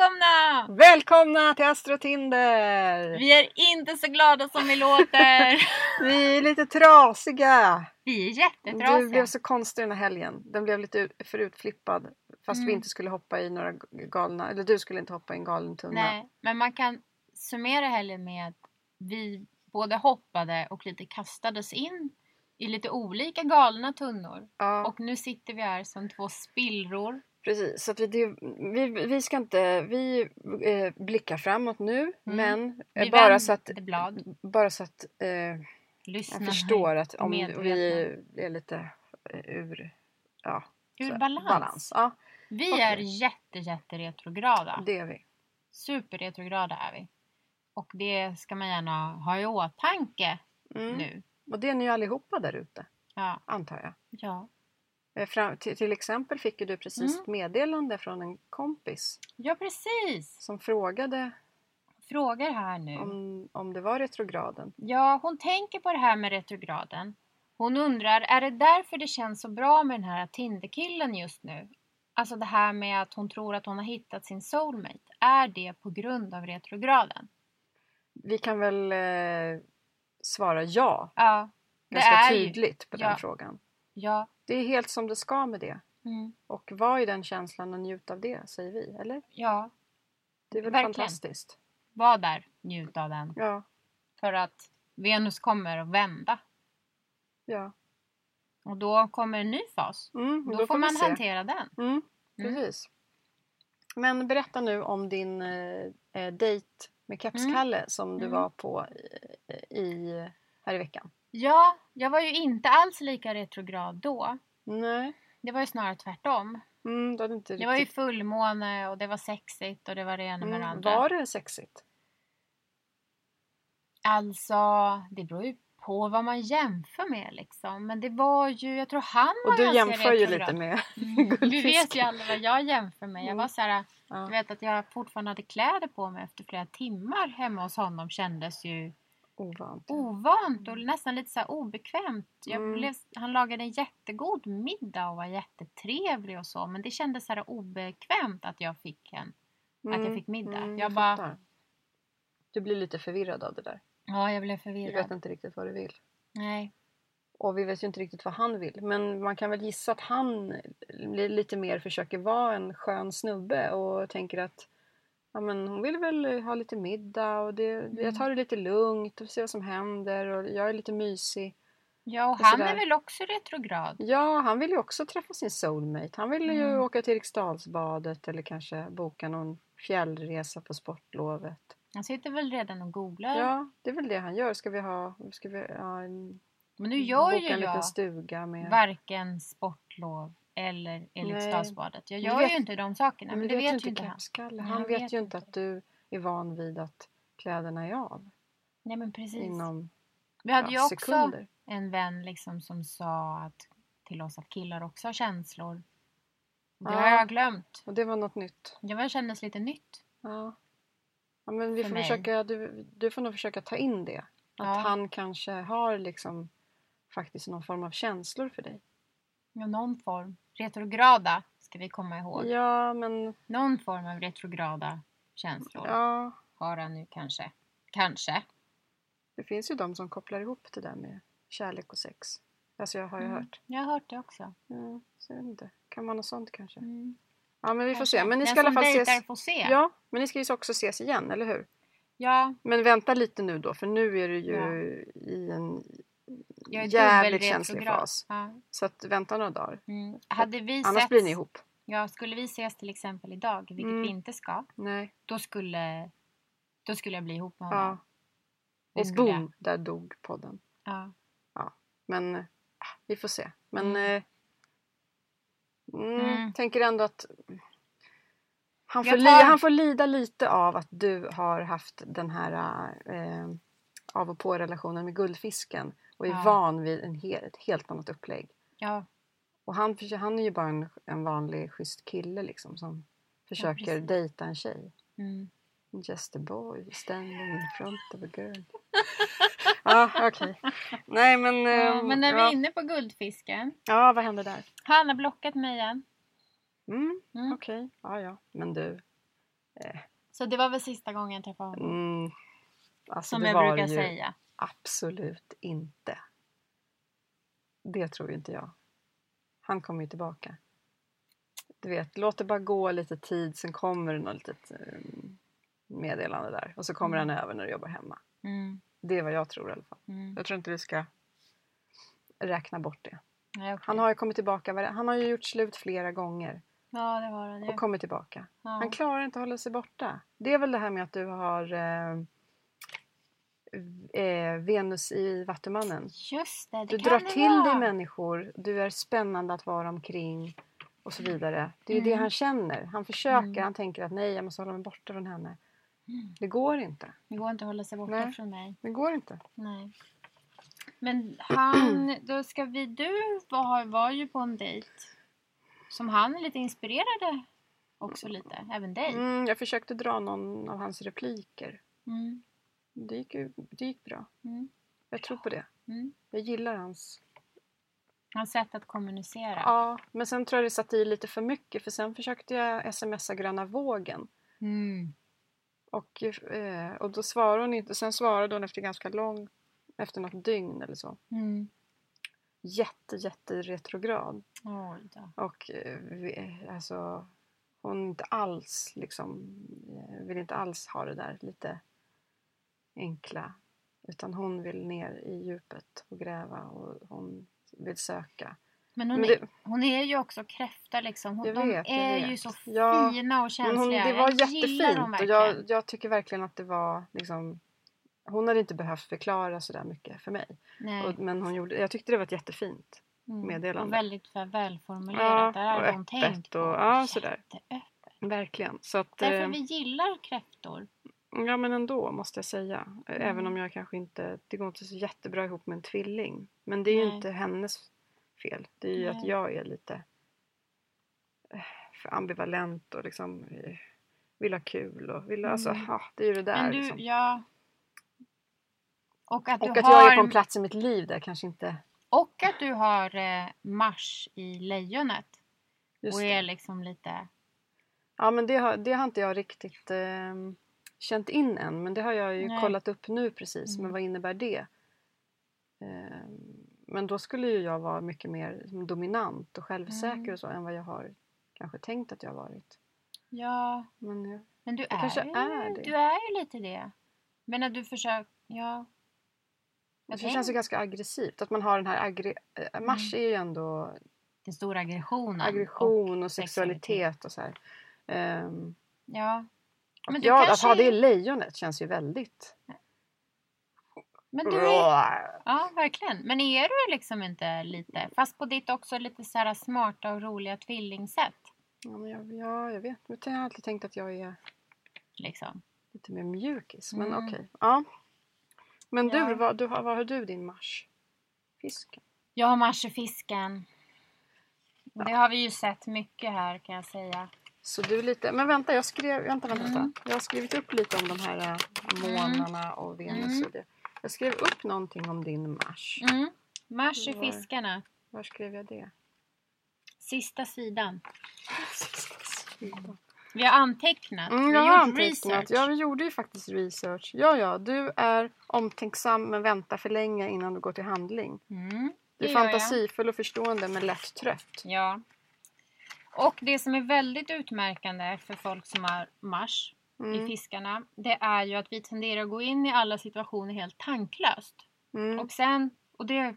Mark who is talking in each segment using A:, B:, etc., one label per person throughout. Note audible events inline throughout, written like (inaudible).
A: Välkomna!
B: Välkomna till Astro Tinder!
A: Vi är inte så glada som vi låter.
B: (laughs) Vi är lite trasiga.
A: Vi är
B: Du blev
A: jättetrasiga.
B: så konstig den här helgen. Den blev lite ut- för utflippad. Fast vi
A: Mm.
B: inte skulle hoppa i några galna... Eller du skulle inte hoppa i en galen tunna.
A: Nej, men man kan summera helgen med att vi både hoppade och lite kastades in i lite olika galna tunnor.
B: Ja,
A: Och nu sitter vi här som två spillror.
B: precis. Så att vi, det, vi, vi ska inte... Vi eh, blickar framåt nu. Men eh,
A: Mm. Vi
B: bara
A: vänder
B: så att...
A: blad.
B: Bara så att eh,
A: Lyssna
B: jag förstår att om vi
A: medvetna.
B: är lite eh, ur... Ja, så
A: Ur
B: här,
A: balans.
B: balans. Ja,
A: Vi
B: Okej.
A: är jätte, jätte retrograda.
B: det är vi.
A: Superretrograda är vi. Och det ska man gärna ha i åtanke
B: Mm.
A: nu.
B: Och det är ni ju allihopa där ute,
A: Ja.
B: antar jag.
A: ja.
B: Eh, Fram, till, till exempel fick ju du precis
A: Mm.
B: ett meddelande från en kompis
A: Ja, precis.
B: som frågade
A: Frågar här nu.
B: om, om det var retrograden.
A: Ja, hon tänker på det här med retrograden. Hon undrar, är det därför det känns så bra med den här Tinderkillen just nu? Alltså det här med att hon tror att hon har hittat sin soulmate. Är det på grund av retrograden?
B: Vi kan väl eh, svara ja,
A: Ja, det
B: ganska
A: är ju.
B: tydligt på
A: ja.
B: den frågan.
A: Ja.
B: Det är helt som det ska med det.
A: Mm,
B: Och var i den känslan och njut av det, säger vi. Eller?
A: ja,
B: Det är väl
A: Verkligen.
B: fantastiskt?
A: var där, njut av den.
B: Ja,
A: För att Venus kommer att vända.
B: ja.
A: Och då kommer en ny fas.
B: Mm,
A: Då,
B: då,
A: får,
B: vi
A: man
B: se.
A: hantera den.
B: Mm,
A: Mm.
B: precis. Men berätta nu om din eh, eh, dejt med Kepskalle som du
A: Mm.
B: var på i, i, här i veckan.
A: Ja, jag var ju inte alls lika retrograd då.
B: Nej,
A: Det var ju snarare tvärtom.
B: mm, du hade inte
A: Det var ju fullmåne och det var sexigt och det var det ena med det
B: mm,
A: andra.
B: Var det sexigt?
A: Alltså, det beror ju på vad man jämför med liksom. Men det var ju, jag tror han var
B: Och du
A: ganska
B: jämför ju
A: retrograd.
B: lite med
A: Mm. Vi vet ju
B: guldfisken.
A: alla vad jag jämför med. Jag
B: Mm.
A: var så här,
B: Ja.
A: du vet att jag fortfarande hade kläder på mig efter flera timmar hemma hos honom kändes ju
B: Ovant.
A: ovant och nästan lite så här obekvämt. Jag
B: Mm.
A: blev, han lagade en jättegod middag och var jättetrevlig och så men det kändes så här obekvämt att jag fick en att jag fick middag. jag bara,
B: Mm. fattar. Du blir lite förvirrad av det där.
A: ja jag blev
B: Du
A: förvirrad.
B: vet inte riktigt vad du vill.
A: Nej.
B: Och vi vet ju inte riktigt vad han vill. Men man kan väl gissa att han li- lite mer försöker vara en skön snubbe och tänker att ja, men hon vill väl ha lite middag och det,
A: Mm.
B: jag tar det lite lugnt och ser vad som händer och jag är lite mysig.
A: Ja och
B: Och
A: han
B: sådär.
A: är väl också retrograd.
B: Ja, han vill ju också träffa sin soulmate. Han vill ju
A: Mm.
B: åka till Riksdalsbadet eller kanske boka någon fjällresa på sportlovet.
A: Han sitter väl redan och googlar.
B: Ja, det är väl det han gör. Ska vi ha... Ska vi, ja, en-
A: Men nu gör
B: boka
A: ju
B: en liten
A: jag
B: stuga med...
A: varken sportlov eller Eriksdalsbadet. Jag
B: Men
A: gör
B: du vet-
A: ju inte de sakerna. Men det vet, ju inte han.
B: Kepskalle.
A: Nej,
B: Han
A: han
B: vet,
A: vet
B: ju
A: inte.
B: inte att du är van vid att kläderna är av
A: Nej men precis.
B: inom
A: Vi hade
B: ja,
A: ju också
B: sekunder.
A: en vän liksom som sa att, till oss att killar också har känslor. Det har
B: Ja.
A: jag glömt.
B: Och det var något nytt.
A: Det var, kändes lite nytt.
B: Ja. Ja, men vi
A: För
B: får
A: mig.
B: försöka, du, du får nog försöka ta in det. Att
A: Ja.
B: han kanske har liksom faktiskt någon form av känslor för dig.
A: Ja, någon form. Retrograda ska vi komma ihåg.
B: Ja, men...
A: Någon form av retrograda känslor
B: Ja,
A: har han nu kanske. Kanske.
B: det finns ju de som kopplar ihop det där med kärlek och sex. Alltså jag har ju
A: Mm.
B: hört.
A: Jag har hört det också.
B: Ja, så jag vet inte. Kan man något sånt kanske?
A: Mm.
B: Ja, men vi får
A: Kanske.
B: se. Men ni
A: Den
B: ska i alla
A: som
B: fall ses.
A: dejtar får se. Ja.
B: Ja, men ni ska ju också ses igen, eller hur?
A: ja,
B: Men vänta lite nu då, för nu är du ju
A: Ja.
B: i en
A: jag är
B: jävligt
A: dubbelretrograd.
B: känslig fas.
A: Ja.
B: Så att vänta några dagar.
A: Mm. Hade vi
B: Annars
A: sett,
B: blir ni ihop.
A: Ja, skulle vi ses till exempel idag, vilket
B: Mm.
A: vi inte ska,
B: Nej.
A: då skulle, då skulle jag bli ihop med
B: Ja.
A: honom. Det
B: Och
A: skulle
B: boom,
A: jag.
B: där dog podden.
A: Ja.
B: Men eh, vi får se. Men
A: Mm.
B: eh, mm,
A: Mm.
B: tänker ändå att han
A: Jag
B: får, li-
A: tar-
B: han får lida lite av att du har haft den här eh, av och på-relationen med guldfisken och är
A: Ja.
B: van vid en hel, ett helt annat upplägg.
A: ja,
B: Och han, försö- han är ju bara en, en vanlig schysst kille liksom som försöker
A: precis.
B: dejta en tjej.
A: mm.
B: Just a boy standing in front of a
A: (laughs)
B: girl. ja, okej. Nej men...
A: ja,
B: ehm,
A: Eh, men när vi
B: ja.
A: är inne på guldfisken.
B: ja, vad hände där?
A: Han har blockat mig igen.
B: Mm,
A: Mm.
B: Okej, ja ja. Men du. Eh,
A: Så det var väl sista gången jag träffade honom.
B: Mm. Alltså,
A: som
B: det
A: jag
B: var
A: brukar
B: ju
A: säga.
B: absolut inte. Det tror ju inte jag. Han kommer ju tillbaka. Du vet, låt det bara gå lite tid, sen kommer det något litet eh, meddelande där. Och så kommer
A: Mm.
B: han över när du jobbar hemma.
A: Mm.
B: Det är vad jag tror i alla fall.
A: Mm.
B: Jag tror inte du ska räkna bort det.
A: Nej, okej.
B: Han har ju kommit tillbaka, var- han har ju gjort slut flera gånger
A: Ja, det var han ju.
B: och kommit tillbaka.
A: Ja.
B: Han klarar inte att hålla sig borta. Det är väl det här med att du har eh, eh, Venus i Vattumannen.
A: Just det, det
B: Du
A: kan
B: drar
A: det
B: till dig
A: vara.
B: människor, du är spännande att vara omkring och så vidare. Det är ju det
A: Mm.
B: han känner. Han försöker,
A: Mm.
B: han tänker att nej, jag måste hålla mig borta från henne.
A: Mm.
B: Det går inte.
A: Det går inte att hålla sig borta
B: Nej.
A: från mig.
B: Det går inte.
A: Nej. Men
B: (clears throat)
A: han, då ska vi, du var, var ju på en dejt som han lite inspirerade också lite, även dig.
B: Mm, jag försökte dra någon av hans repliker.
A: Mm.
B: Det gick, ju- det gick bra.
A: Mm.
B: Jag tror på det.
A: Mm.
B: Jag gillar hans...
A: Hans sätt att kommunicera.
B: Ja, men sen tror jag det satt i lite för mycket för sen försökte jag smsa Gröna vågen.
A: Mm.
B: Och, eh, och då svarade hon inte. Sen svarade hon efter ganska lång... Efter något dygn eller så.
A: Mm.
B: Jätte, jätte retrograd.
A: Oj då.
B: Och eh, vi- alltså, hon inte alls liksom, eh, vill inte alls ha det där lite enkla. Utan hon vill ner i djupet och gräva och hon vill söka.
A: Men hon,
B: Men
A: är,
B: det,
A: hon är ju också kräfta liksom. Hon,
B: Jag
A: de
B: vet, jag
A: är ju
B: vet.
A: så
B: Ja,
A: fina och
B: men
A: känsliga.
B: hon, det var
A: Jag gillar dem
B: jättefint och
A: verkligen.
B: jag, jag tycker verkligen att det var liksom, hon hade inte behövt förklara så där mycket för mig.
A: Nej.
B: Och, men hon gjorde, jag tyckte det var ett jättefint
A: Mm.
B: meddelande.
A: Och väldigt för välformulerat.
B: Ja,
A: där hade
B: och
A: hon
B: öppet
A: tänkt på.
B: och- ja, sådär.
A: Jätteöppet.
B: Verkligen. Så att,
A: Därför
B: eh,
A: vi gillar kräftor.
B: Ja men ändå måste jag säga. Även
A: Mm.
B: om jag kanske inte, det går inte så jättebra ihop med en tvilling. Men det är ju
A: Nej.
B: inte hennes fel. Det är ju att
A: Nej.
B: jag är lite eh, för ambivalent och liksom eh, vill ha kul och vill, alltså,
A: Mm.
B: ja, det är ju det där
A: Men du,
B: liksom.
A: ja. Och att,
B: Och
A: du
B: att
A: har,
B: jag är på en plats i mitt liv där jag kanske inte,
A: och att du har eh, Mars i lejonet.
B: just
A: och
B: det.
A: är liksom lite...
B: Ja men det har, det har inte jag riktigt eh, känt in än men det har jag ju
A: Nej.
B: kollat upp nu precis.
A: Mm.
B: Men vad innebär det? Eh, men då skulle ju jag vara mycket mer liksom, dominant och självsäker
A: Mm.
B: och så än vad jag har kanske tänkt att jag har varit.
A: Ja,
B: Men jag,
A: men du är,
B: kanske
A: ju,
B: är det.
A: du är ju lite det. Men att du försöker... Ja.
B: det
A: Jag
B: känns ju
A: tänker-
B: ganska aggressivt att man har den här aggre-
A: Mm.
B: eh, Mars är ju ändå
A: Den stora aggressionen.
B: aggression och,
A: sexualitet.
B: sexualitet och så här. Ehm,
A: Och, ja.
B: och
A: Men du
B: ja, att
A: kanske
B: ha
A: är-
B: det i lejonet känns ju väldigt...
A: Men du är Ja, verkligen. Men är du liksom inte lite, fast på ditt också lite så här smarta och roliga tvillingsätt?
B: Ja, men jag, ja, jag vet. Men Jag har alltid tänkt att jag är
A: Liksom.
B: lite mer mjukis. Men
A: Mm.
B: okej. Ja. Men du,
A: Ja.
B: vad, du, har- vad har du din mars? Fisken?
A: Jag har Mars i fisken. Och Det har vi ju sett mycket här kan jag säga.
B: Så du är lite... Men vänta, jag skrev... Vänta, vänta,
A: Mm.
B: vänta. Jag har skrivit upp lite om de här äh, månarna och Venus
A: Mm.
B: och det. Jag skrev upp någonting om din mars.
A: Mm. Mars i
B: Var?
A: fiskarna.
B: Var skrev jag det?
A: Sista sidan. Vi har antecknat. vi
B: Mm, jag har
A: har gjort
B: antecknat.
A: Mm, research.
B: Ja, vi gjorde ju faktiskt research. Ja, ja, du är omtänksam men väntar för länge innan du går till handling.
A: Mm.
B: Du är
A: det gör jag.
B: fantasifull och förstående men lätt trött.
A: Ja. Och det som är väldigt utmärkande för folk som har Mars i
B: Mm.
A: fiskarna. Det är ju att vi tenderar att gå in i alla situationer helt tanklöst.
B: Mm.
A: Och sen, och det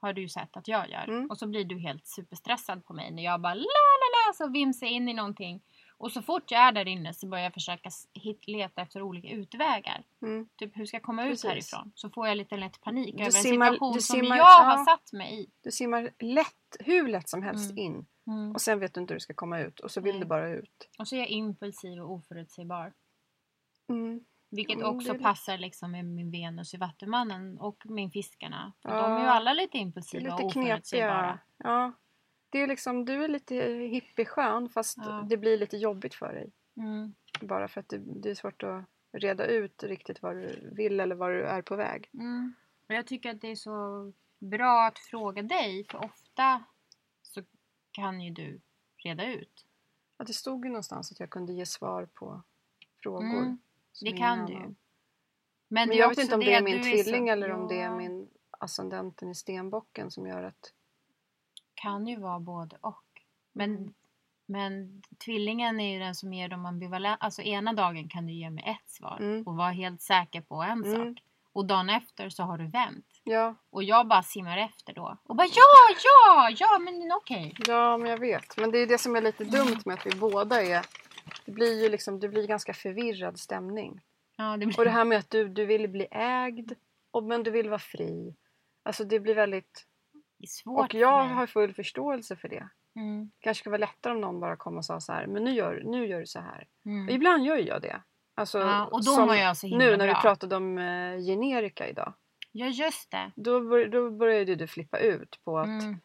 A: har du ju sett att jag gör.
B: Mm.
A: Och så blir du helt superstressad på mig när jag bara la la la så vimsar jag in i någonting. Och så fort jag är där inne så börjar jag försöka s- hit, leta efter olika utvägar.
B: Mm.
A: Typ hur ska jag komma
B: Precis.
A: ut härifrån? Så får jag lite lätt panik
B: Du
A: över
B: simmar-
A: en situation
B: du
A: som
B: simmar-
A: jag
B: ja.
A: har satt mig i.
B: Du simmar lätt, hur lätt som helst
A: Mm.
B: in
A: Mm.
B: och sen vet du inte hur du ska komma ut och så vill
A: Nej.
B: du bara ut.
A: Och så är jag impulsiv och oförutsägbar.
B: Mm.
A: Vilket
B: Mm, det
A: också
B: är det.
A: passar liksom med min Venus i Vattumannen och min Fiskarna. För De är ju
B: Ja.
A: alla lite
B: Det är
A: impulsiva och
B: lite
A: oförutsägbara.
B: knepiga. Ja. Det är liksom, du är lite hippieskön fast
A: Ja.
B: det blir lite jobbigt för dig.
A: Mm.
B: Bara för att det, det är svårt att reda ut riktigt vad du vill eller var du är på väg.
A: Mm. Och jag tycker att det är så bra att fråga dig för ofta så kan ju du reda ut.
B: Att det stod ju någonstans att jag kunde ge svar på frågor.
A: Mm,
B: som
A: det
B: ingen
A: kan du ju.
B: annan.
A: Men,
B: Men
A: är
B: jag vet
A: också
B: inte om det är min
A: du
B: tvilling
A: så-
B: eller om det är
A: Ja,
B: min ascendenten i stenbocken som gör att...
A: kan ju vara både och. Men,
B: Mm.
A: men tvillingen är ju den som ger dem ambivalent. Alltså ena dagen kan du ge mig ett svar
B: Mm.
A: och vara helt säker på en
B: Mm.
A: sak. Och dagen efter så har du vänt.
B: Ja,
A: Och jag bara simmar efter då. Och bara ja, ja, ja men okej.
B: ja, men jag vet. Men det är det som är lite dumt med att vi båda är... Det blir ju liksom, det blir ganska förvirrad stämning.
A: Ja, det blir...
B: Och det här med att du, du vill bli ägd, och, men du vill vara fri. Alltså det blir väldigt...
A: är (laughs) svårt
B: Och jag
A: för mig.
B: har full förståelse för det.
A: Mm,
B: kanske skulle vara lättare om någon bara kom och sa så här, men nu gör, nu gör du så här.
A: mm.
B: Ibland gör ju jag det. Alltså,
A: Ja, och då
B: som
A: mår jag så himla
B: Nu när
A: bra.
B: vi pratade om eh, generika idag,
A: Ja, just det.
B: då, bör, då började du flippa ut på att,
A: Mm.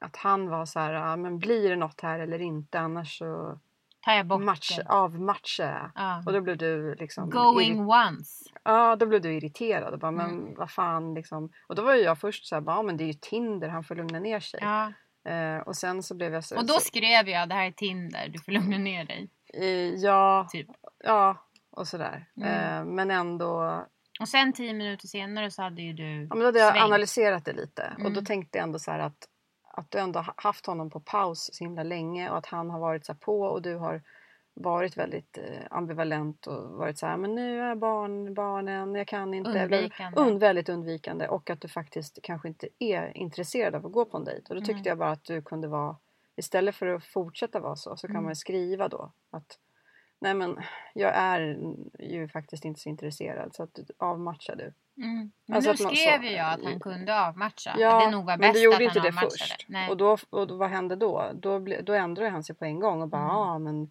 B: att han var så här, "Ah, men blir det något här eller inte annars så
A: Tar jag bort
B: match,
A: det.
B: avmatchar jag.
A: Ja.
B: Och då blev du liksom irri-
A: Going once.
B: ja, då blev du irriterad och bara, men
A: Mm.
B: vad fan liksom. Och då var ju jag först så här, bara, "Ah, men det är ju Tinder, han får lugna ner sig.
A: Ja.
B: Eh, och sen så blev jag så,
A: Och då
B: så
A: skrev jag det här är Tinder, du får lugna ner dig.
B: eh, ja,
A: Typ.
B: Ja, och sådär.
A: Mm.
B: Eh, men ändå,
A: Och sen tio minuter senare så hade ju du
B: ja, men då hade jag
A: svängt.
B: analyserat det lite och då
A: Mm.
B: tänkte jag ändå så här att, att du ändå har haft honom på paus så himla länge och att han har varit så här på och du har varit väldigt eh, ambivalent och varit så här, men nu är barn, barnen, jag kan inte. bla, bla, bla."
A: Undvikande.
B: Und, väldigt undvikande och att du faktiskt kanske inte är intresserad av att gå på en dejt. Och då tyckte
A: Mm.
B: jag bara att du kunde vara, istället för att fortsätta vara så, så kan
A: Mm.
B: man ju skriva då att Nej men jag är ju faktiskt inte så intresserad så att avmatchar du.
A: Mm. Men
B: Alltså
A: nu
B: att man
A: skrev
B: så- Mm.
A: ju jag att han kunde avmatcha.
B: Ja,
A: att det nog var
B: men
A: bäst
B: du gjorde
A: att
B: inte
A: han
B: det
A: avmatchade.
B: först.
A: Nej.
B: Och, då, och då, vad hände då? Då, ble, då ändrade han sig på en gång och bara
A: Mm.
B: ja men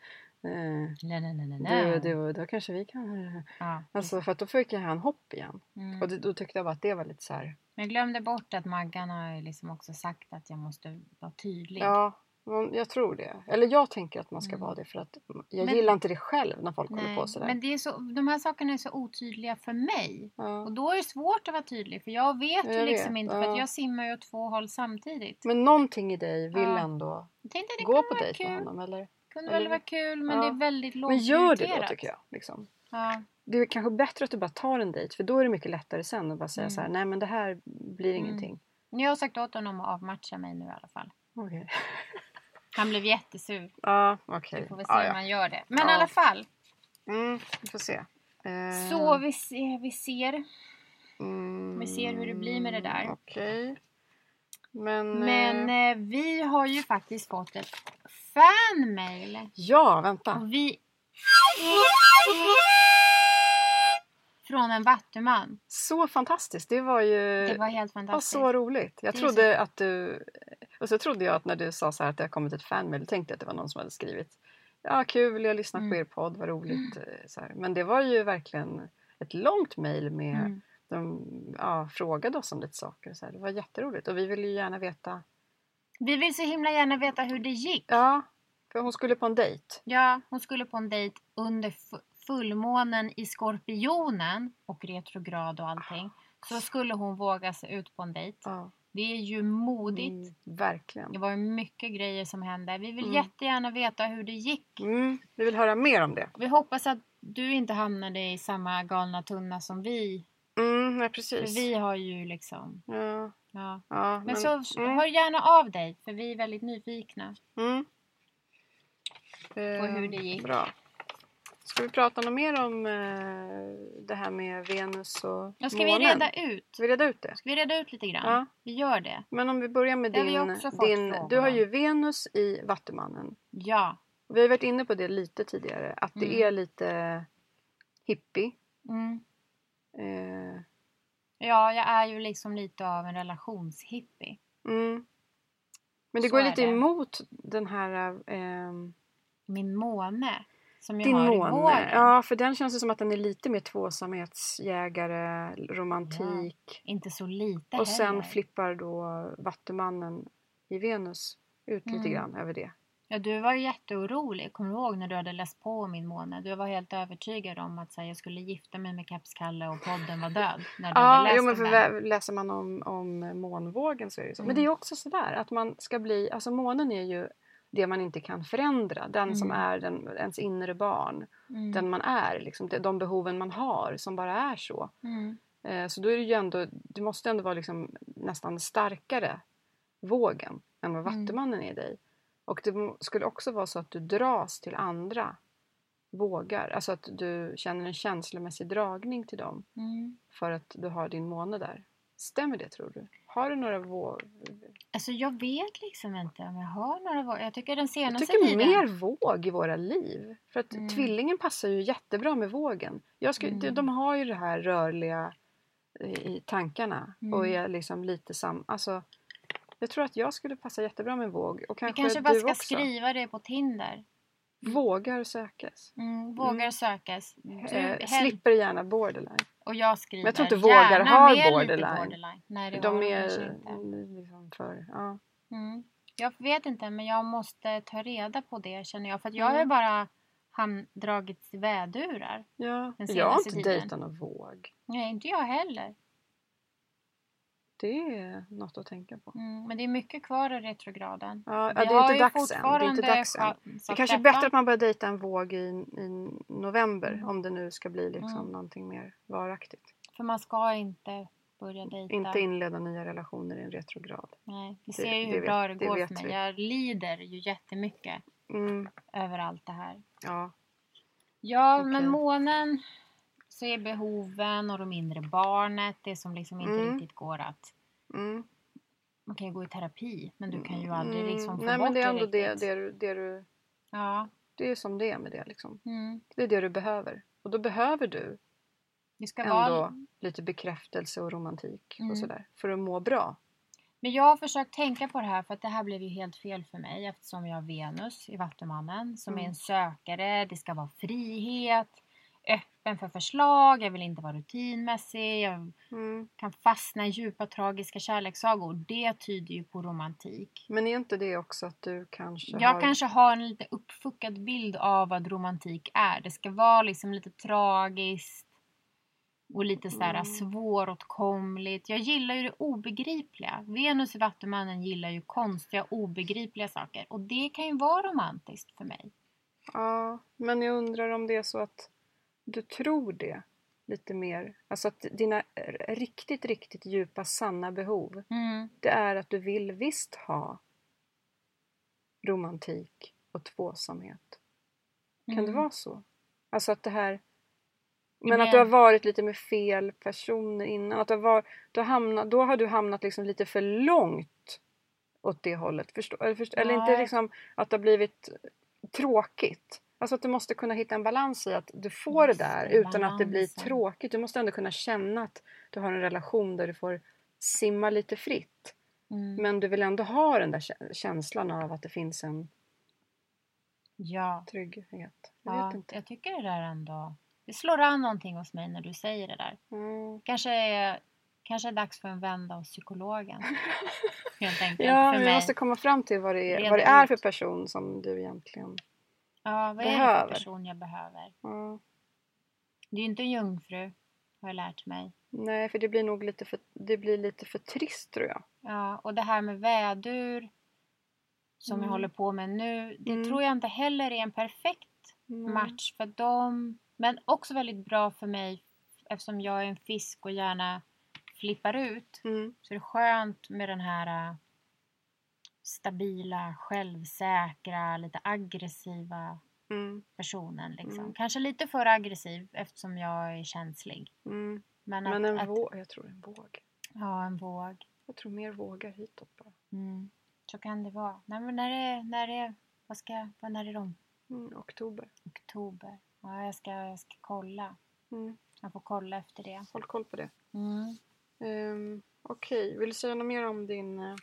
B: eh,
A: nej, nej, nej, nej,
B: du,
A: nej.
B: du, då kanske vi kan...
A: Ja,
B: Alltså för att då fick ju han hopp igen.
A: mm.
B: Och det, då tyckte jag bara att det var lite så här.
A: Men jag glömde bort att Maggan har ju liksom också sagt att jag måste vara tydlig.
B: Ja, men jag tror det. Eller jag tänker att man ska
A: Mm.
B: vara det för att jag
A: Men-
B: gillar inte det själv när folk håller
A: Nej,
B: på sådär.
A: men det är så, de här sakerna är så otydliga för mig.
B: ja.
A: Och då är det svårt att vara tydlig för jag vet ju
B: Jag
A: liksom
B: vet,
A: inte för att
B: ja.
A: jag simmar ju åt två håll samtidigt.
B: men någonting i dig vill
A: Ja.
B: ändå
A: Jag tänkte att det
B: gå
A: kunde
B: på
A: vara
B: dejt med
A: kul.
B: honom eller?
A: kunde väl
B: Eller-
A: vara kul men
B: Ja.
A: det är väldigt lågt
B: Men gör det då tycker jag. Liksom.
A: Ja.
B: Det är kanske bättre att du bara tar en dejt för då är det mycket lättare sen att bara säga
A: Mm.
B: så här, nej men det här blir
A: Mm.
B: ingenting.
A: Men Jag har sagt åt honom att avmatcha mig nu i alla fall. (laughs)
B: Okej.
A: Han blev jättesur.
B: Ja, okej.
A: Vi får väl se
B: Ja,
A: hur
B: ja.
A: man gör det. Men i
B: Ja.
A: alla fall.
B: Mm, vi får se. Eh,
A: Så vi ser. Vi ser.
B: mm,
A: vi ser hur det blir med det där.
B: Okej. Men,
A: Men
B: eh,
A: eh, vi har ju faktiskt fått ett fanmail.
B: ja, vänta.
A: Och vi... Från en vattuman.
B: Så fantastiskt. Det var ju
A: Det var helt
B: Ja,
A: fantastiskt.
B: så roligt. Jag
A: Det är
B: trodde att du... Och så trodde jag att när du sa så här att det har kommit ett fanmail, då tänkte jag att det var någon som hade skrivit Ja, kul, jag lyssnar på
A: Mm.
B: er podd, vad roligt. eh, Så här. Men det var ju verkligen ett långt mejl med...
A: Mm.
B: De ja, frågade oss om lite saker. och Så här. Det var jätteroligt och vi ville ju gärna veta...
A: Vi vill så himla gärna veta hur det gick.
B: Ja, för hon skulle på en dejt.
A: Ja, hon skulle på en dejt under fu- fullmånen i Skorpionen och retrograd och allting. Så skulle hon våga sig ut på en dejt.
B: Ja,
A: Det är ju modigt.
B: mm, verkligen.
A: Det var ju mycket grejer som hände. Vi vill
B: Mm.
A: jättegärna veta hur det gick.
B: Mm, vi vill höra mer om det.
A: Vi hoppas att du inte hamnade i samma galna tunna som vi.
B: Mm, ja,
A: För
B: precis.
A: vi har ju liksom...
B: Ja,
A: Ja.
B: ja,
A: Men, så
B: mm,
A: hör gärna av dig för vi är väldigt nyfikna.
B: Mm.
A: Och hur
B: Eh,
A: det gick.
B: Bra. Ska vi prata något mer om eh, det här med Venus och
A: Ja, ska vi
B: månen?
A: reda ut?
B: Ska vi reda ut det?
A: Ska vi reda ut lite grann?
B: Ja.
A: Vi gör det.
B: Men om vi börjar med
A: Det har vi
B: din...
A: också fått
B: din
A: frågor
B: du har
A: om.
B: ju Venus i Vattumannen.
A: Ja.
B: Vi har varit inne på det lite tidigare, att det
A: Mm.
B: är lite hippie.
A: Mm.
B: Eh,
A: Ja, jag är ju liksom lite av en relationshippie.
B: mm. Men det
A: Så
B: går
A: är
B: lite
A: det.
B: emot den här... ehm,
A: Min måne. Som jag
B: Din
A: har i
B: måne.
A: våren.
B: Ja, för den känns ju som att den är lite mer tvåsamhetsjägare, romantik.
A: Inte så lite
B: och
A: heller.
B: sen flippar då Vattumannen i Venus ut lite
A: Mm.
B: grann över det.
A: ja, du var ju jätteorolig. Kommer du ihåg när du hade läst på om min måne? Du var helt övertygad om att så här, jag skulle gifta mig med Kapskalle och podden var död. När du hade
B: Ja,
A: läst
B: jo, men
A: om
B: för
A: den.
B: vä- läser man om, om månvågen så är det ju så. Men
A: Mm.
B: det är ju också sådär att man ska bli, alltså månen är ju det man inte kan förändra. Den som är den, ens inre barn.
A: Mm.
B: Den man är, liksom, de- de behoven man har som bara är så.
A: Mm.
B: Eh, Så då är det ju ändå, du måste ändå vara liksom nästan starkare vågen än vad
A: Mm.
B: Vattumannen är i dig. Och det må- skulle också vara så att du dras till andra vågar, alltså att du känner en känslomässig dragning till dem
A: Mm.
B: för att du har din måne där. Stämmer det tror du? Har du några våg?
A: Alltså jag vet liksom inte om jag har några vågor. Jag tycker den
B: Jag
A: senaste
B: tycker
A: tiden...
B: mer våg i våra liv. För att
A: Mm.
B: tvillingen passar ju jättebra med vågen. Jag skulle,
A: Mm.
B: de, de har ju det här rörliga eh, i i tankarna och
A: Mm.
B: är liksom lite sam... Alltså, jag tror att jag skulle passa jättebra med våg och
A: Vi
B: kanske,
A: kanske bara
B: du
A: ska
B: också.
A: skriva det på Tinder.
B: Vågar sökas.
A: Mm,
B: Mm.
A: vågar sökas. Du,
B: eh,
A: hell-
B: slipper gärna borderline.
A: och jag skriver
B: Men jag tror inte
A: gärna
B: vågar har
A: med lite
B: borderline.
A: Nej, det har
B: de
A: de
B: är
A: kanske inte.
B: liksom för... Ja.
A: Mm. Jag vet inte, men jag måste ta reda på det känner jag. För att jag
B: Mm.
A: har ju bara han dragits i vädurar.
B: Ja.
A: Den
B: Jag har
A: senaste
B: inte
A: tiden.
B: dejtat någon våg.
A: Nej, inte jag heller.
B: Det är något att tänka på.
A: Mm. Men det är mycket kvar i retrograden.
B: Ja,
A: Vi
B: ja, det
A: har
B: är
A: ju
B: inte dags än. Det är
A: fortfarande
B: inte dags än.
A: chans
B: Det
A: att
B: kanske är
A: träffa.
B: bättre att man börjar dejta en våg i, i november
A: Mm.
B: om det nu ska bli liksom
A: Mm.
B: någonting mer varaktigt.
A: För man ska inte börja dejta.
B: Inte inleda nya relationer i en retrograd.
A: Nej, vi
B: Det-
A: ser ju
B: det
A: hur
B: vet-
A: bra det
B: det
A: går
B: vet
A: för mig.
B: vi.
A: Jag lider ju jättemycket
B: Mm,
A: över allt det här.
B: ja.
A: Ja,
B: Okej.
A: men månen så är behoven och de inre barnet det som liksom inte
B: Mm.
A: riktigt går att...
B: Mm.
A: Man kan ju gå i terapi, men du kan ju aldrig liksom få
B: Nej,
A: bort
B: men det är ändå det,
A: riktigt.
B: det, du, det, du,
A: Ja,
B: det är som det är med det. Liksom.
A: mm.
B: Det är det du behöver. Och då behöver du
A: det ska vara...
B: ändå lite bekräftelse och romantik
A: Mm.
B: och sådär för att må bra.
A: Men jag har försökt tänka på det här för att det här blev ju helt fel för mig eftersom jag har Venus i Vattumannen som är
B: Mm.
A: en sökare, det ska vara frihet, öppen för förslag, jag vill inte vara rutinmässig, jag
B: Mm.
A: kan fastna i djupa tragiska kärlekssagor. Det tyder ju på romantik.
B: Men är inte det också att du kanske
A: Jag
B: har...
A: kanske har en lite uppfuckad bild av vad romantik är. Det ska vara liksom lite tragiskt och lite sådär
B: Mm.
A: svåråtkomligt. Jag gillar ju det obegripliga. Venus i Vattumannen gillar ju konstiga, obegripliga saker. Och det kan ju vara romantiskt för mig.
B: Ja, men jag undrar om det är så att du tror det lite mer. Alltså att dina r- riktigt, riktigt djupa, sanna behov,
A: Mm.
B: det är att du vill visst ha romantik och tvåsamhet. Kan det
A: Mm.
B: vara så? Alltså att det här...
A: Du
B: Men att du har
A: menar-
B: varit lite med fel personer innan. Att du har var, du har hamnat, då har du hamnat liksom lite för långt åt det hållet. Förstå, eller, förstå, eller inte
A: Nej.
B: liksom att det har blivit tråkigt. Alltså att du måste kunna hitta en balans i att du får det
A: Just
B: där
A: det,
B: utan att det blir
A: balansen.
B: tråkigt. Du måste ändå kunna känna att du har en relation där du får simma lite fritt.
A: Mm.
B: Men du vill ändå ha den där kä- känslan av att det finns en
A: Ja,
B: trygghet. Jag
A: ja
B: vet inte.
A: jag tycker det där ändå... Det slår an någonting hos mig när du säger det där.
B: Mm.
A: Kanske är, kanske är dags för en vända
B: (laughs)
A: av psykologen. Helt enkelt
B: Ja,
A: för
B: men vi
A: mig.
B: måste komma fram till vad det är,
A: Reda
B: vad det är
A: ut.
B: för person som du egentligen...
A: Ja, vad är det för
B: behöver.
A: person jag behöver?
B: Ja.
A: Det är ju inte en jungfru, har jag lärt mig.
B: Nej, för det blir nog lite för, det blir lite för trist tror jag.
A: Ja, och det här med vädur som jag
B: Mm.
A: håller på med nu, det
B: Mm.
A: tror jag inte heller är en perfekt
B: Mm.
A: match för dem. Men också väldigt bra för mig eftersom jag är en fisk och gärna flippar ut.
B: Mm.
A: Så det är skönt med den här äh, stabila, självsäkra, lite aggressiva
B: Mm.
A: personen. Liksom.
B: Mm.
A: Kanske lite för aggressiv eftersom jag är känslig.
B: Mm.
A: Men,
B: Men
A: att,
B: en
A: att,
B: våg, jag tror en våg.
A: Ja, en våg.
B: Jag tror mer vågar hitåt bara.
A: Mm. Så kan det vara. Nej, men när är, när är, vad ska, jag- vad, när är de?
B: Mm. Oktober.
A: Oktober. Ja, jag ska, jag ska kolla.
B: Mm.
A: Jag får kolla efter det.
B: Håll koll på det.
A: Mm.
B: Um, Okej, vill du säga något mer om din... eh,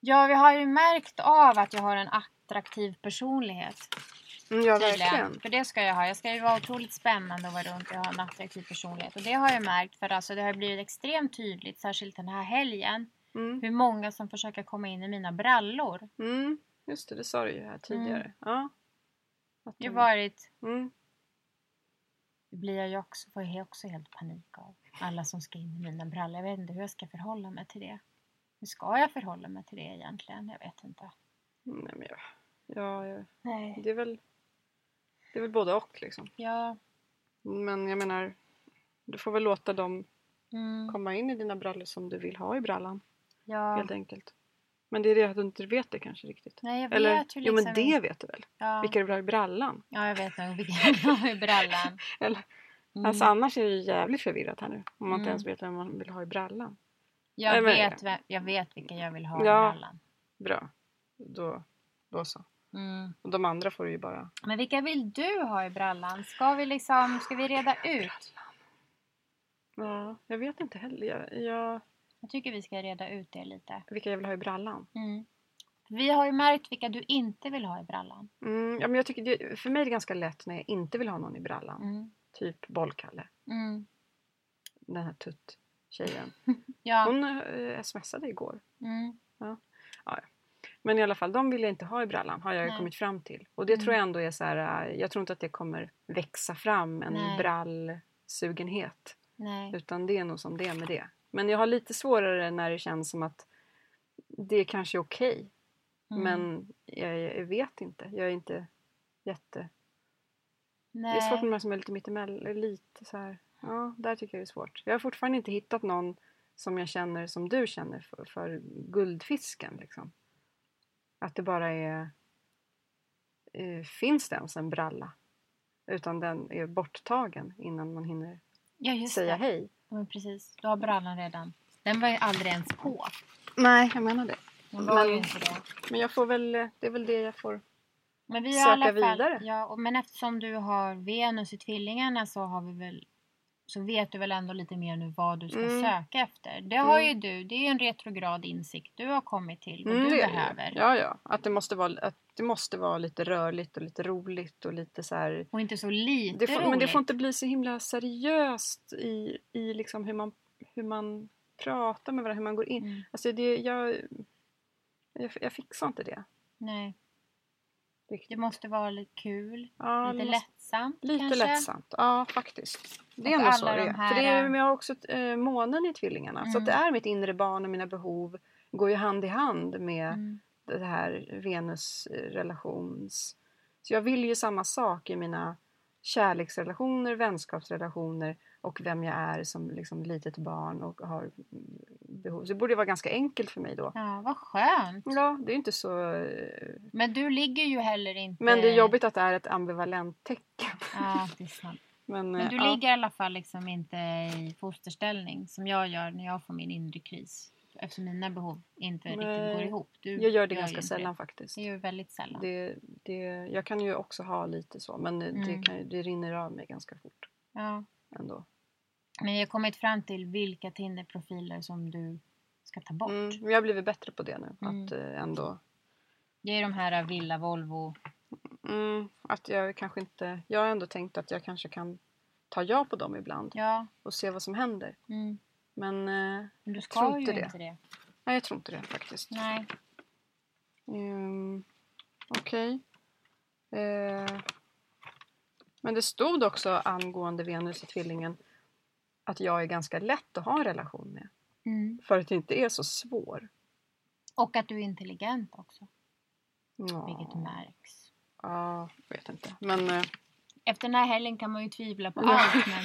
A: Ja, vi har ju märkt av att jag har en attraktiv personlighet.
B: Mm, ja,
A: Tydligen.
B: verkligen.
A: För det ska jag ha. Jag ska ju vara otroligt spännande och vara runt och ha en attraktiv personlighet. Och det har jag märkt för alltså, det har blivit extremt tydligt, särskilt den här helgen,
B: Mm.
A: hur många som försöker komma in i mina brallor.
B: Mm. Just det, det sa du ju här tidigare.
A: Mm.
B: Ja. Att
A: Det har
B: de-
A: varit
B: mm.
A: Det blir jag ju också, får jag också helt panik av. Alla som ska in i mina brallor. Jag vet inte hur jag ska förhålla mig till det. Hur ska jag förhålla mig till det egentligen? Jag vet inte.
B: Nej, men jag, ja, jag,
A: Nej.
B: det, är väl, det är väl både och liksom.
A: Ja.
B: Men jag menar, du får väl låta dem
A: Mm.
B: komma in i dina brallor som du vill ha i brallan.
A: ja.
B: Helt enkelt. Men det är det att du inte vet det kanske riktigt.
A: Nej, jag vet
B: Eller,
A: ju liksom
B: jo men det
A: inte-
B: vet du väl?
A: Ja.
B: Vilka du vill ha i brallan?
A: ja, jag vet nog vilken jag har i brallan.
B: (laughs) Eller,
A: Mm.
B: Alltså annars är det ju jävligt förvirrat här nu. Om man inte
A: Mm.
B: ens vet vem man vill ha i brallan.
A: jag,
B: nej, men-
A: vet vem, jag vet vilken jag vill ha i
B: Ja.
A: brallan.
B: Bra. Då, då så.
A: Mm.
B: Och de andra får du ju bara...
A: Men vilka vill du ha i brallan? Ska vi liksom, ska vi reda ut?
B: Ja, jag vet inte heller. Jag, jag,
A: Jag tycker vi ska reda ut det lite.
B: vilka jag vill ha i brallan.
A: Mm. Vi har ju märkt vilka du inte vill ha i brallan.
B: Mm, ja, men jag tycker det, för mig är det ganska lätt när jag inte vill ha någon i brallan.
A: Mm.
B: Typ Bollkalle.
A: Mm.
B: Den här tutt-tjejen.
A: Ja.
B: Hon eh, smsade igår.
A: Mm.
B: Men i alla fall, de vill jag inte ha i brallan har jag ju
A: Nej.
B: kommit fram till. Och det
A: Mm.
B: tror jag ändå är så här, eh, jag tror inte att det kommer växa fram en
A: Nej.
B: brallsugenhet.
A: Nej.
B: Utan det är nog som det är med det. Men jag har lite svårare när det känns som att det kanske är okej.
A: Mm.
B: Men jag, jag vet inte. Jag är inte jätte...
A: Nej.
B: Det är svårt med de här som är lite mittemellan. Lite så här. Ja, där tycker jag det är svårt. Jag har fortfarande inte hittat någon som jag känner som du känner för, för guldfisken. Liksom. Att det bara är... eh, Finns det ens en bralla? Utan den är borttagen innan man hinner
A: Ja, just
B: säga
A: det.
B: hej.
A: Ja, Men precis. Du har brallan redan. Den var ju aldrig ens på.
B: Nej, jag menar det.
A: Den var
B: Men-
A: ju inte det.
B: Men jag får väl, det är väl det jag får.
A: Men vi har i alla
B: söka
A: fall,
B: vidare.
A: Ja, och, men eftersom du har Venus i Tvillingarna så har vi väl så vet du väl ändå lite mer nu vad du ska
B: Mm.
A: söka efter. Det har
B: Mm.
A: ju du. Det är ju en retrograd insikt du har kommit till vad
B: Mm,
A: du
B: det är det ju.
A: behöver.
B: Ja, ja. Att det, måste vara, att det måste vara lite rörligt och lite roligt och lite så här.
A: Och inte så lite
B: Det får,
A: roligt.
B: men det får inte bli så himla seriöst i, i liksom hur, man, hur man pratar med varandra, hur man går in.
A: Mm,
B: Alltså det, jag, jag, jag fixar inte det.
A: nej, det
B: Riktigt.
A: måste vara lite kul,
B: Ja,
A: lite
B: det måste-
A: lättsamt
B: lite
A: kanske.
B: lättsamt. Ja, faktiskt. Det är
A: Och
B: nog så
A: alla
B: det
A: de
B: är.
A: här,
B: För det är,
A: eh,
B: men jag har också eh, månen i tvillingarna. Så
A: Mm.
B: att det är mitt inre barn och mina behov går ju hand i hand med
A: Mm,
B: det här Venus eh, relations... Så jag vill ju samma sak i mina kärleksrelationer, vänskapsrelationer och vem jag är som liksom litet barn och har mm, behov. Så det borde vara ganska enkelt för mig då.
A: ja, vad skönt.
B: Ja, det är inte så... eh,
A: Men du ligger ju heller inte...
B: Men det är jobbigt att det är ett ambivalent tecken. (laughs)
A: Ja, det är sant.
B: Men,
A: Men
B: eh,
A: du
B: ja.
A: ligger i alla fall liksom inte i fosterställning som jag gör när jag får min inre kris. Eftersom mina behov inte
B: Nej,
A: riktigt går ihop. Du
B: Jag gör det
A: ju
B: ganska
A: inte
B: sällan faktiskt.
A: Det är ju väldigt sällan.
B: Det, det, jag kan ju också ha lite så, men eh, det,
A: Mm.
B: kan, ju- det rinner av mig ganska fort
A: Ja.
B: ändå.
A: Men jag har kommit fram till vilka Tinderprofiler som du ska ta bort.
B: Mm, men jag har blivit bättre på det nu.
A: Mm.
B: Att eh, ändå...
A: Det är de här Villa Volvo.
B: Mm, att jag kanske inte... Jag har ändå tänkt att jag kanske kan ta ja på dem ibland
A: Ja. och
B: och se vad som händer.
A: Mm.
B: Men eh,
A: Men
B: tror
A: du ska ju
B: inte det.
A: inte det.
B: nej, jag tror inte det faktiskt.
A: Nej.
B: Mm, Okej. Eh, men det stod också angående Venus i Tvillingen att jag är ganska lätt att ha en relation med.
A: Mm.
B: För att jag inte är så svår.
A: Och att du är intelligent också.
B: Ja.
A: Vilket märks.
B: Ja, jag vet inte. Men eh,
A: Efter den här helgen kan man ju tvivla på
B: Ja.
A: allt. Men...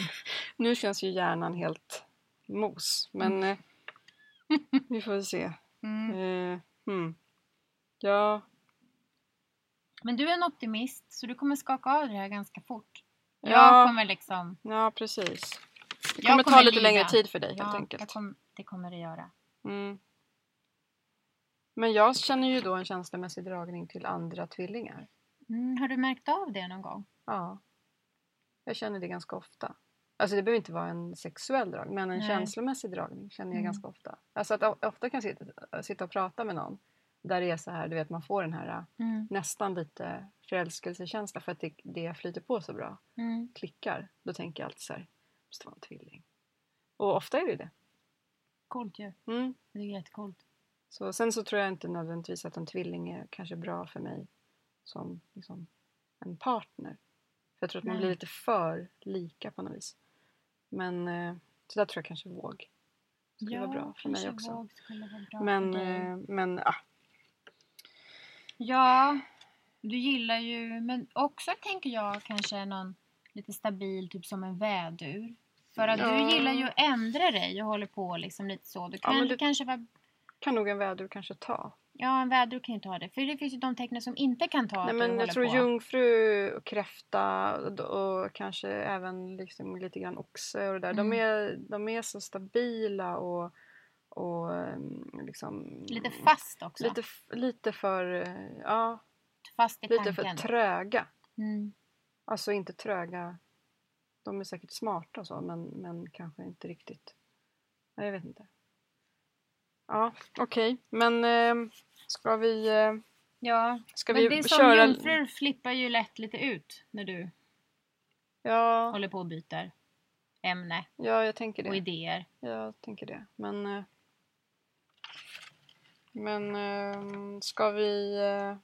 B: nu känns ju hjärnan helt mos. Men eh, (laughs) vi får väl se.
A: Mm.
B: Eh, hmm. Ja,
A: Men du är en optimist så du kommer skaka av det här ganska fort.
B: ja,
A: Jag kommer liksom...
B: ja, precis. Det
A: jag
B: kommer, ta lite
A: lida.
B: längre tid för dig helt
A: Ja,
B: enkelt.
A: Jag kom, det kommer det göra.
B: Mm. Men jag känner ju då en känslomässig dragning till andra tvillingar.
A: Mm, har du märkt av det någon gång?
B: Ja. Jag känner det ganska ofta. Alltså det behöver inte vara en sexuell drag, men en
A: Nej.
B: känslomässig dragning känner jag
A: Mm.
B: ganska ofta. Alltså att o- ofta kan jag sitta, sitta och prata med någon där det är så här, du vet man får den här äh,
A: Mm,
B: nästan lite förälskelsekänsla för att det, det flyter på så bra.
A: mm,
B: Klickar. Då tänker jag alltid så här, måste vara en tvilling. Och ofta är det ju det.
A: coolt ju.
B: Mm.
A: Det är jättecoolt.
B: Så, sen så tror jag inte nödvändigtvis att en tvilling är kanske bra för mig som liksom, en partner. För jag tror att man
A: Nej.
B: blir lite för lika på något vis. Men eh, så där tror jag kanske våg skulle vara bra för mig
A: kanske
B: också. eh,
A: våg skulle vara bra
B: Men,
A: för dig.
B: eh, men ah.
A: Ja, du gillar ju, men också tänker jag kanske någon lite stabil, typ som en vädur. För att
B: Ja.
A: du gillar ju att ändra dig och håller på liksom lite så. Du kan
B: men
A: ju
B: det-
A: kanske vara,
B: Kan nog en vädur kanske ta.
A: ja en vädur kan ju ta det. För det finns ju de tecknen som inte kan ta
B: Nej,
A: att du
B: men jag
A: håller
B: tror
A: på.
B: jungfru och kräfta och, och kanske även liksom lite grann oxe och det där. De,
A: Mm.
B: är, de är så stabila och, och ehm, liksom...
A: Lite fast också.
B: Lite, f- lite för, eh, ja,
A: fast i
B: lite för
A: tanken.
B: tröga.
A: mm.
B: Alltså inte tröga. De är säkert smarta och så men, men kanske inte riktigt. Nej, jag vet inte. Ja, okej. Men ehm, ska vi, eh,
A: Ja,
B: ska
A: men
B: vi
A: det är som
B: köra...
A: jungfrur flippar ju lätt lite ut när du
B: Ja,
A: håller på och byter ämne
B: ja, jag tänker det.
A: och idéer.
B: Jag tänker det. Men, eh, men eh, ska vi... eh,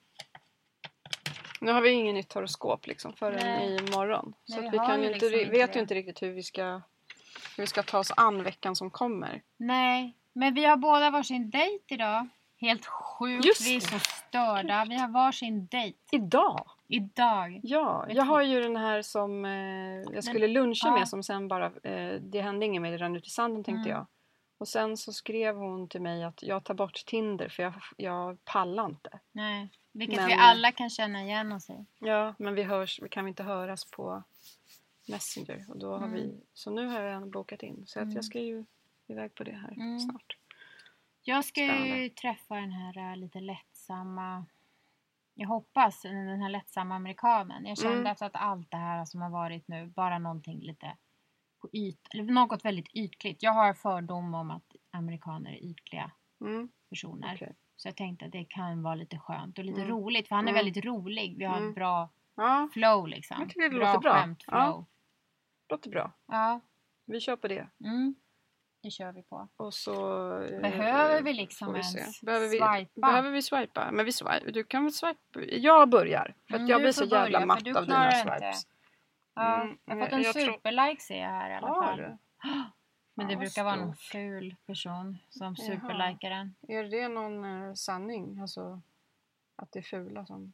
B: Nu har vi ingen nytt horoskop liksom förrän
A: Nej.
B: imorgon. Så
A: Nej,
B: att vi
A: vi har
B: kan
A: ju
B: ju inte, ri-
A: liksom inte
B: vet
A: det.
B: ju inte riktigt hur vi, ska, hur vi ska ta oss an veckan som kommer.
A: Nej, men vi har båda varsin dejt idag. Helt sjukt,
B: Just
A: vi är
B: det.
A: så störda. Vi har varsin dejt
B: Idag?
A: idag.
B: Ja,
A: Vet
B: jag
A: du-
B: har ju den här som eh, jag skulle luncha
A: ja.
B: med som sen bara, eh, det hände inget med det rann ut i sanden tänkte
A: Mm.
B: jag. Och sen så skrev hon till mig att jag tar bort Tinder för jag, jag pallar inte.
A: Nej, vilket
B: Men-
A: vi alla kan känna igen oss i.
B: Ja, men vi hörs, vi kan vi inte höras på Messenger. Och då har
A: Mm.
B: vi, så nu har jag redan bokat in. Så att
A: Mm.
B: jag ska ju iväg på det här
A: Mm.
B: snart.
A: Jag ska ju
B: Spännande.
A: träffa den här äh, lite lättsamma, jag hoppas den här lättsamma amerikanen. Jag kände
B: Mm.
A: alltså att allt det här som har varit nu, bara någonting lite på yt, eller något väldigt ytligt. Jag har fördom om att amerikaner är ytliga
B: Mm.
A: personer.
B: okej.
A: Så jag tänkte att det kan vara lite skönt och lite
B: Mm.
A: roligt för han är
B: Mm.
A: väldigt rolig. Vi har ett
B: Mm.
A: bra
B: Ja,
A: flow liksom.
B: Jag tycker det låter bra.
A: Skämt,
B: Ja.
A: flow.
B: låter bra.
A: Ja.
B: Vi kör på det.
A: Mm. Det kör vi på.
B: Och så... eh,
A: Behöver vi liksom
B: får vi
A: ens
B: se. Behöver vi,
A: swipa?
B: behöver vi swipa? Men vi swipa. Du kan väl swipa? Jag börjar. För att
A: Mm,
B: jag
A: du
B: blir så
A: får börja,
B: jävla
A: för
B: matt
A: du
B: av
A: klarar
B: dina
A: inte
B: swipes.
A: Ja,
B: Mm,
A: jag har
B: men
A: fått en
B: jag tror-
A: superlike ser jag här i alla
B: Har
A: fall.
B: du?
A: Men det
B: Fan, vad
A: brukar vara
B: stort.
A: någon ful person som
B: Jaha.
A: superlikar den.
B: Är det någon eh, sanning? Alltså att det är fula som...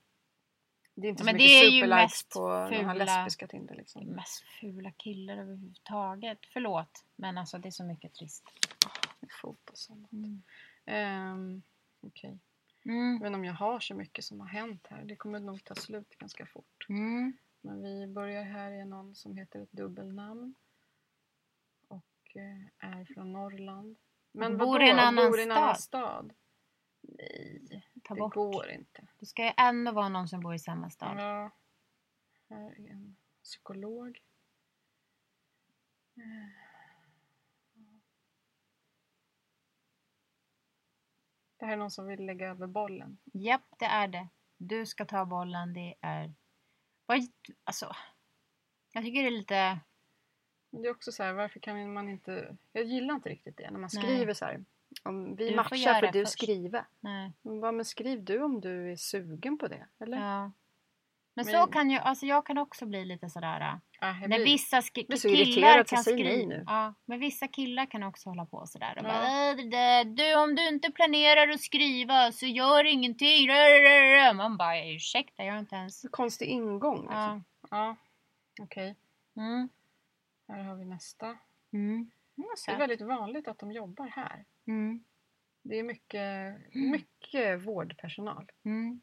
B: Det är inte så
A: Men
B: mycket
A: det är ju
B: superlikes
A: mest
B: på de
A: fula-
B: här lesbiska Tinder
A: Det är
B: liksom.
A: mest fula killar överhuvudtaget. Förlåt, men alltså det är så mycket trist.
B: Med fot och sånt.
A: Mm.
B: Ehm, Okej. Jag
A: Mm.
B: vet inte om jag har så mycket som har hänt här. Det kommer nog ta slut ganska fort.
A: Mm.
B: Men vi börjar här i någon som heter ett dubbelnamn. Och eh, är från Norrland. Men
A: Bor
B: vadå?
A: i en annan
B: Bor i en annan
A: stad?
B: stad? Nej,
A: Ta
B: det
A: bort.
B: går inte.
A: Det ska ju ändå vara någon som bor i samma stad.
B: Ja. Här är en psykolog. Eh. Det här är någon som vill lägga över bollen.
A: Japp, det är det. Du ska ta bollen, det är... Vad... Alltså... Jag tycker det är lite...
B: Men det är också så här, varför kan man inte... Jag gillar inte riktigt det när man
A: Nej.
B: skriver så här. Om vi
A: Du får
B: matchar
A: göra
B: för du
A: först.
B: skriver.
A: Nej.
B: Men vad- Men skriv du om du är sugen på det. Eller?
A: Ja. Men så
B: Men-
A: kan ju... Alltså jag kan också bli lite sådär... äh,
B: Ah, jag
A: När
B: blir-
A: vissa sk-
B: blir så
A: killar
B: irriterad, så
A: kan
B: säg nej
A: skriva.
B: nu.
A: Ja, men vissa killar kan också hålla på sådär. Och
B: Ja.
A: bara, "Äh, det där, du, om du inte planerar att skriva så gör ingenting. Rö, rö, rö, rö." Man bara ursäkta, jag har inte ens...
B: Så konstig ingång. Liksom.
A: Ja.
B: Ja. Okej,
A: Mm.
B: här har vi nästa.
A: Mm.
B: Det är
A: Söt.
B: väldigt vanligt att de jobbar här.
A: Mm.
B: Det är mycket, mycket vårdpersonal.
A: Mm.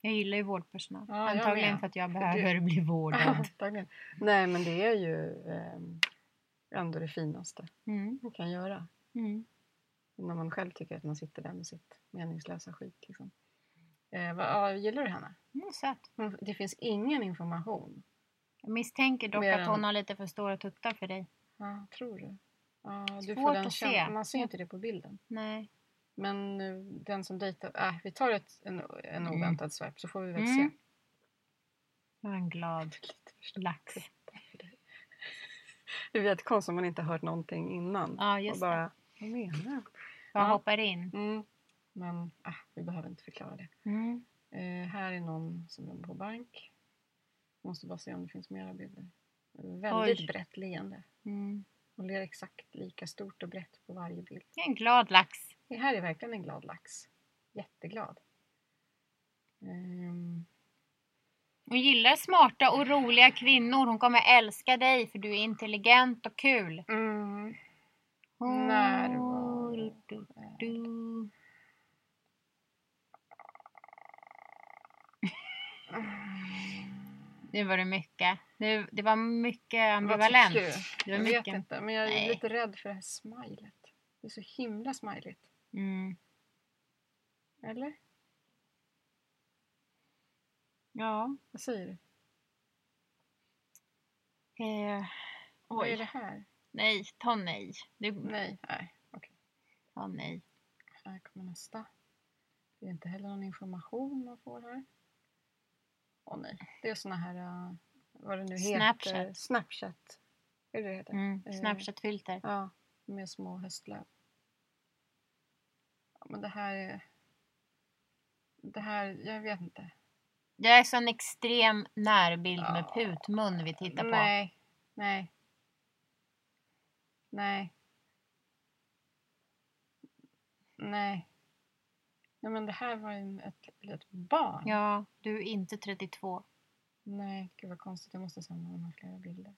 A: Jag gillar ju vårdpersonal.
B: Ja, jag
A: Antagligen
B: med.
A: för att jag
B: För
A: behöver bli vårdad.
B: Antagligen. Nej, men det är ju eh, ändå det finaste
A: Mm.
B: man kan göra.
A: Mm.
B: När man själv tycker att man sitter där med sitt meningslösa skit. Liksom. Eh, vad, ja, gillar du henne?
A: Mm, söt.
B: Hon- Det finns ingen information.
A: Jag misstänker dock
B: Mer
A: att
B: än-
A: hon har lite för stora tuttar för dig.
B: Ja, tror du? Ja, du
A: Svårt
B: får den
A: att se.
B: känslan. Man ser inte det på bilden.
A: Nej.
B: Men eh, den som dejtar... Äh, vi tar ett, en, en
A: Mm.
B: oväntad swipe så får vi väl
A: Mm.
B: se. (laughs)
A: Jag är en glad lax.
B: Det är jättekonstigt om man inte har hört någonting innan.
A: Ja, just
B: och
A: det.
B: bara, vad menar jag?
A: Bara
B: Ja.
A: hoppar in.
B: Mm. Men ah, vi behöver inte förklara det.
A: Mm.
B: Eh, här är någon som jobbar på bank. Måste bara se om det finns mera bilder. Väldigt
A: Oj.
B: brett leende.
A: Mm.
B: Hon ler exakt lika stort och brett på varje bild.
A: Jag är en glad lax.
B: Det här är verkligen en glad lax. Jätteglad. Ehm,
A: Hon gillar smarta och roliga kvinnor. Hon kommer älska dig för du är intelligent och kul.
B: mm. Närvaro.
A: Du, du, du. Nu var det mycket. Nu, det var mycket
B: Vad
A: ambivalent.
B: tycker du?
A: Det var
B: typ Jag vet
A: mycket.
B: inte, men jag är
A: Nej.
B: lite rädd för det här smilet. Det är så himla smajligt.
A: Mm.
B: Eller?
A: Ja.
B: Vad säger du?
A: Eh.
B: Vad är det
A: Oj.
B: här?
A: Nej, ta nej. Du,
B: Nej, nej. Okej.
A: ta nej.
B: Här kommer nästa. Det är inte heller någon information man får här. Åh nej, det är såna här, eh, vad det nu heter.
A: Snapchat.
B: Snapchat. Är det det heter?
A: Mm.
B: Eh.
A: Snapchat-filter.
B: Ja, med små höstlöv. Ja, men det här är... Det här, jag vet inte.
A: Det är så en extrem närbild med
B: Ja.
A: putmun vi tittar på.
B: Nej, nej. Nej. Nej. Nej, men det här var ju ett litet barn.
A: Ja, du är inte 32.
B: Nej, gud vad konstigt. Jag måste samla de här flera bilder.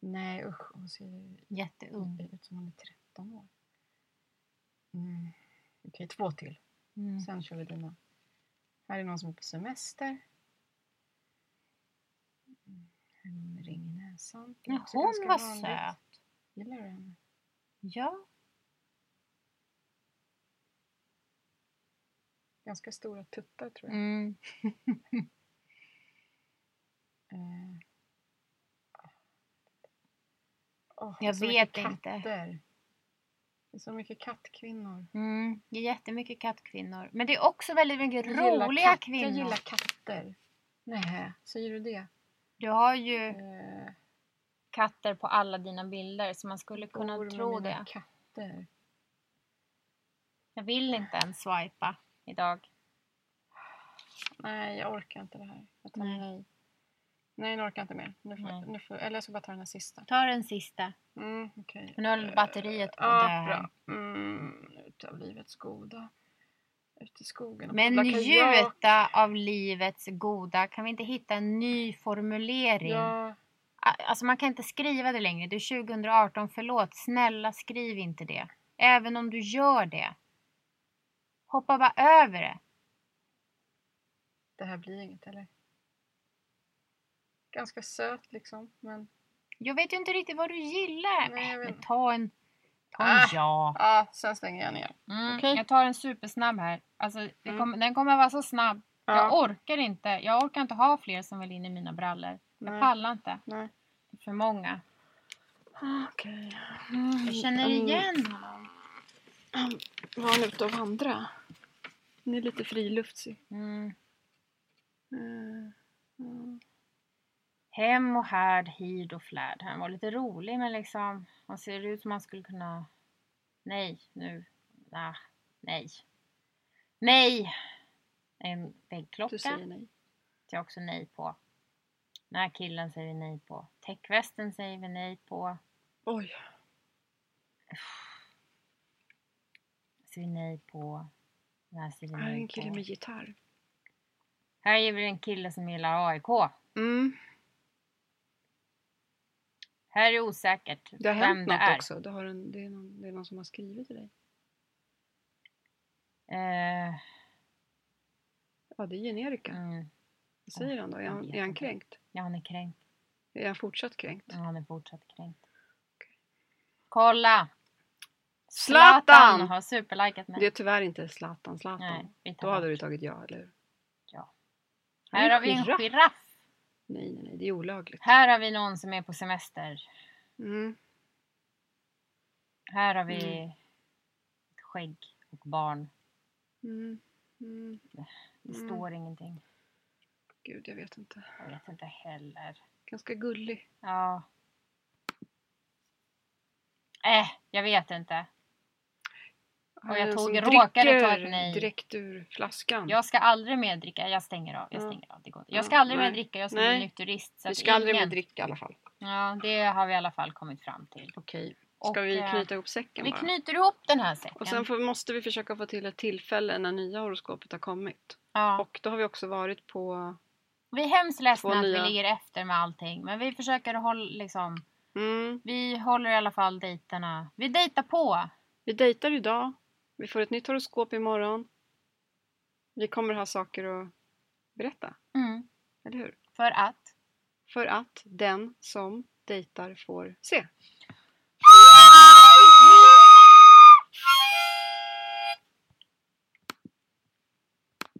B: Nej, usch. Hon ser
A: Mm.
B: ju
A: Jätteung.
B: ut som hon är 13 år. Mm. Okej, två till.
A: Mm.
B: Sen kör vi dina. Här är någon som är på semester. Mm. En ring i näsan. Det är
A: Men
B: också
A: hon
B: ganska
A: var
B: vanligt.
A: söt.
B: Gillar du henne?
A: Ja.
B: Ganska stora tuttar tror jag.
A: Mm. Mm.
B: Eh. Åh,
A: Jag
B: så
A: vet
B: mycket
A: inte.
B: katter. Det är så mycket kattkvinnor.
A: Mm. Det är jättemycket kattkvinnor. Men det är också väldigt
B: Jag
A: mycket
B: gillar
A: roliga
B: katt-
A: kvinnor.
B: Jag gillar katter. Nej, säger du det?
A: Du har ju
B: Eh,
A: katter på alla dina bilder så man skulle kunna
B: bor med
A: tro
B: mina
A: det.
B: katter.
A: Jag vill inte ens swipa idag.
B: Nej, jag orkar inte det här. Jag tar
A: Nej.
B: nej. nej. Nej, jag orkar inte mer. Nu får,
A: Nej.
B: nu får, eller jag ska bara ta den här sista.
A: Ta den sista.
B: Mm, okej.
A: Nu håller batteriet på att dö
B: Ja,
A: här.
B: bra. Mm, utav livets goda. Ut i skogen och
A: Men
B: odla kajak.
A: njuta av livets goda. Kan vi inte hitta en ny formulering?
B: Ja,
A: A- Alltså man kan inte skriva det längre. Det är 2018. Förlåt, snälla skriv inte det. Även om du gör det. Hoppa bara över det.
B: det här blir inget, eller? Ganska söt liksom, men...
A: Jag vet ju inte riktigt vad du gillar. Äh,
B: Nej, jag vet
A: men
B: inte.
A: ta en, ta en
B: Ah.
A: ja.
B: Ja, sen stänger jag ner.
A: Mm,
B: Okej.
A: Jag tar en supersnabb här. Alltså, det
B: Mm.
A: kommer- den kommer vara så snabb.
B: Ja,
A: Jag orkar inte. Jag orkar inte ha fler som vill in i mina brallor. Jag
B: Nej.
A: pallar inte.
B: nej.
A: Det är För många.
B: Okej.
A: Jag känner
B: Mm.
A: igen honom.
B: Han var ute och vandra. Han är lite friluftsig.
A: Mm.
B: Eh, mm.
A: Hem och härd, hid och flärd. Han var lite rolig men liksom. Han ser ut som han skulle kunna. Nej, nu. Nah, nej. Nej! En
B: Du
A: väggklocka.
B: säger nej.
A: säger också nej på. Den här killen säger vi nej på. Täckvästen säger vi nej på.
B: Oj.
A: Säger vi nej på. Den här säger vi
B: Här är
A: nej
B: en kille
A: på.
B: med gitarr.
A: Här är vi en kille som gillar AIK.
B: Mm.
A: Här är osäkert
B: Det har
A: vem
B: hänt
A: det
B: något
A: är.
B: också. Det, har en, det, är någon, det är någon som har skrivit till dig.
A: Eh,
B: Ja, det är generika.
A: mm,
B: Vad säger han då? Är han, är han kränkt?
A: ja, han är kränkt.
B: Är han fortsatt kränkt?
A: Ja, han är fortsatt kränkt. Kolla!
B: Zlatan!
A: har superlikat mig.
B: Det är tyvärr inte Zlatan Zlatan.
A: Nej, vi
B: Då
A: tar
B: hade
A: bort.
B: du tagit ja, eller hur?
A: Ja.
B: Han är
A: Här har vi en
B: giraff.
A: giraff.
B: Nej, nej, nej. Det är olagligt.
A: Här har vi någon som är på semester.
B: Mm.
A: Här har vi
B: Mm.
A: ett skägg och barn.
B: Mm. Mm.
A: Det
B: Mm.
A: står ingenting.
B: Gud, jag vet inte.
A: Jag vet inte heller.
B: Ganska gullig.
A: Ja. Äh, jag vet inte.
B: Mm. Han
A: Och jag
B: är en
A: tog-
B: som
A: jag råkade ta ett
B: dricker
A: nej.
B: direkt ur flaskan.
A: Jag ska aldrig mer dricka. Jag stänger av. Jag
B: Ja.
A: stänger av. Det går inte. Jag
B: Ja,
A: ska aldrig mer
B: Mm. nej.
A: dricka. Jag ska
B: Nej.
A: bli nykterist. Så
B: Vi
A: att
B: ska aldrig mer
A: ingen-
B: dricka i alla fall.
A: Ja, det har vi i alla fall kommit fram till.
B: Okej. Ska vi
A: eh,
B: knyta ihop säcken
A: vi
B: bara?
A: knyter ihop den här säcken.
B: Och sen får, måste vi försöka få till ett tillfälle när nya horoskopet har kommit.
A: ja.
B: Och då har vi också varit på...
A: vi är hemskt
B: två
A: ledsna att vi
B: nya.
A: ligger efter med allting. Men vi försöker hålla, liksom,
B: Mm,
A: vi håller i alla fall dejterna. Vi dejtar på.
B: vi dejtar idag. Vi får ett nytt horoskop imorgon. Vi kommer ha saker att berätta,
A: Mm.
B: eller hur?
A: För att
B: För att den som dejtar får se.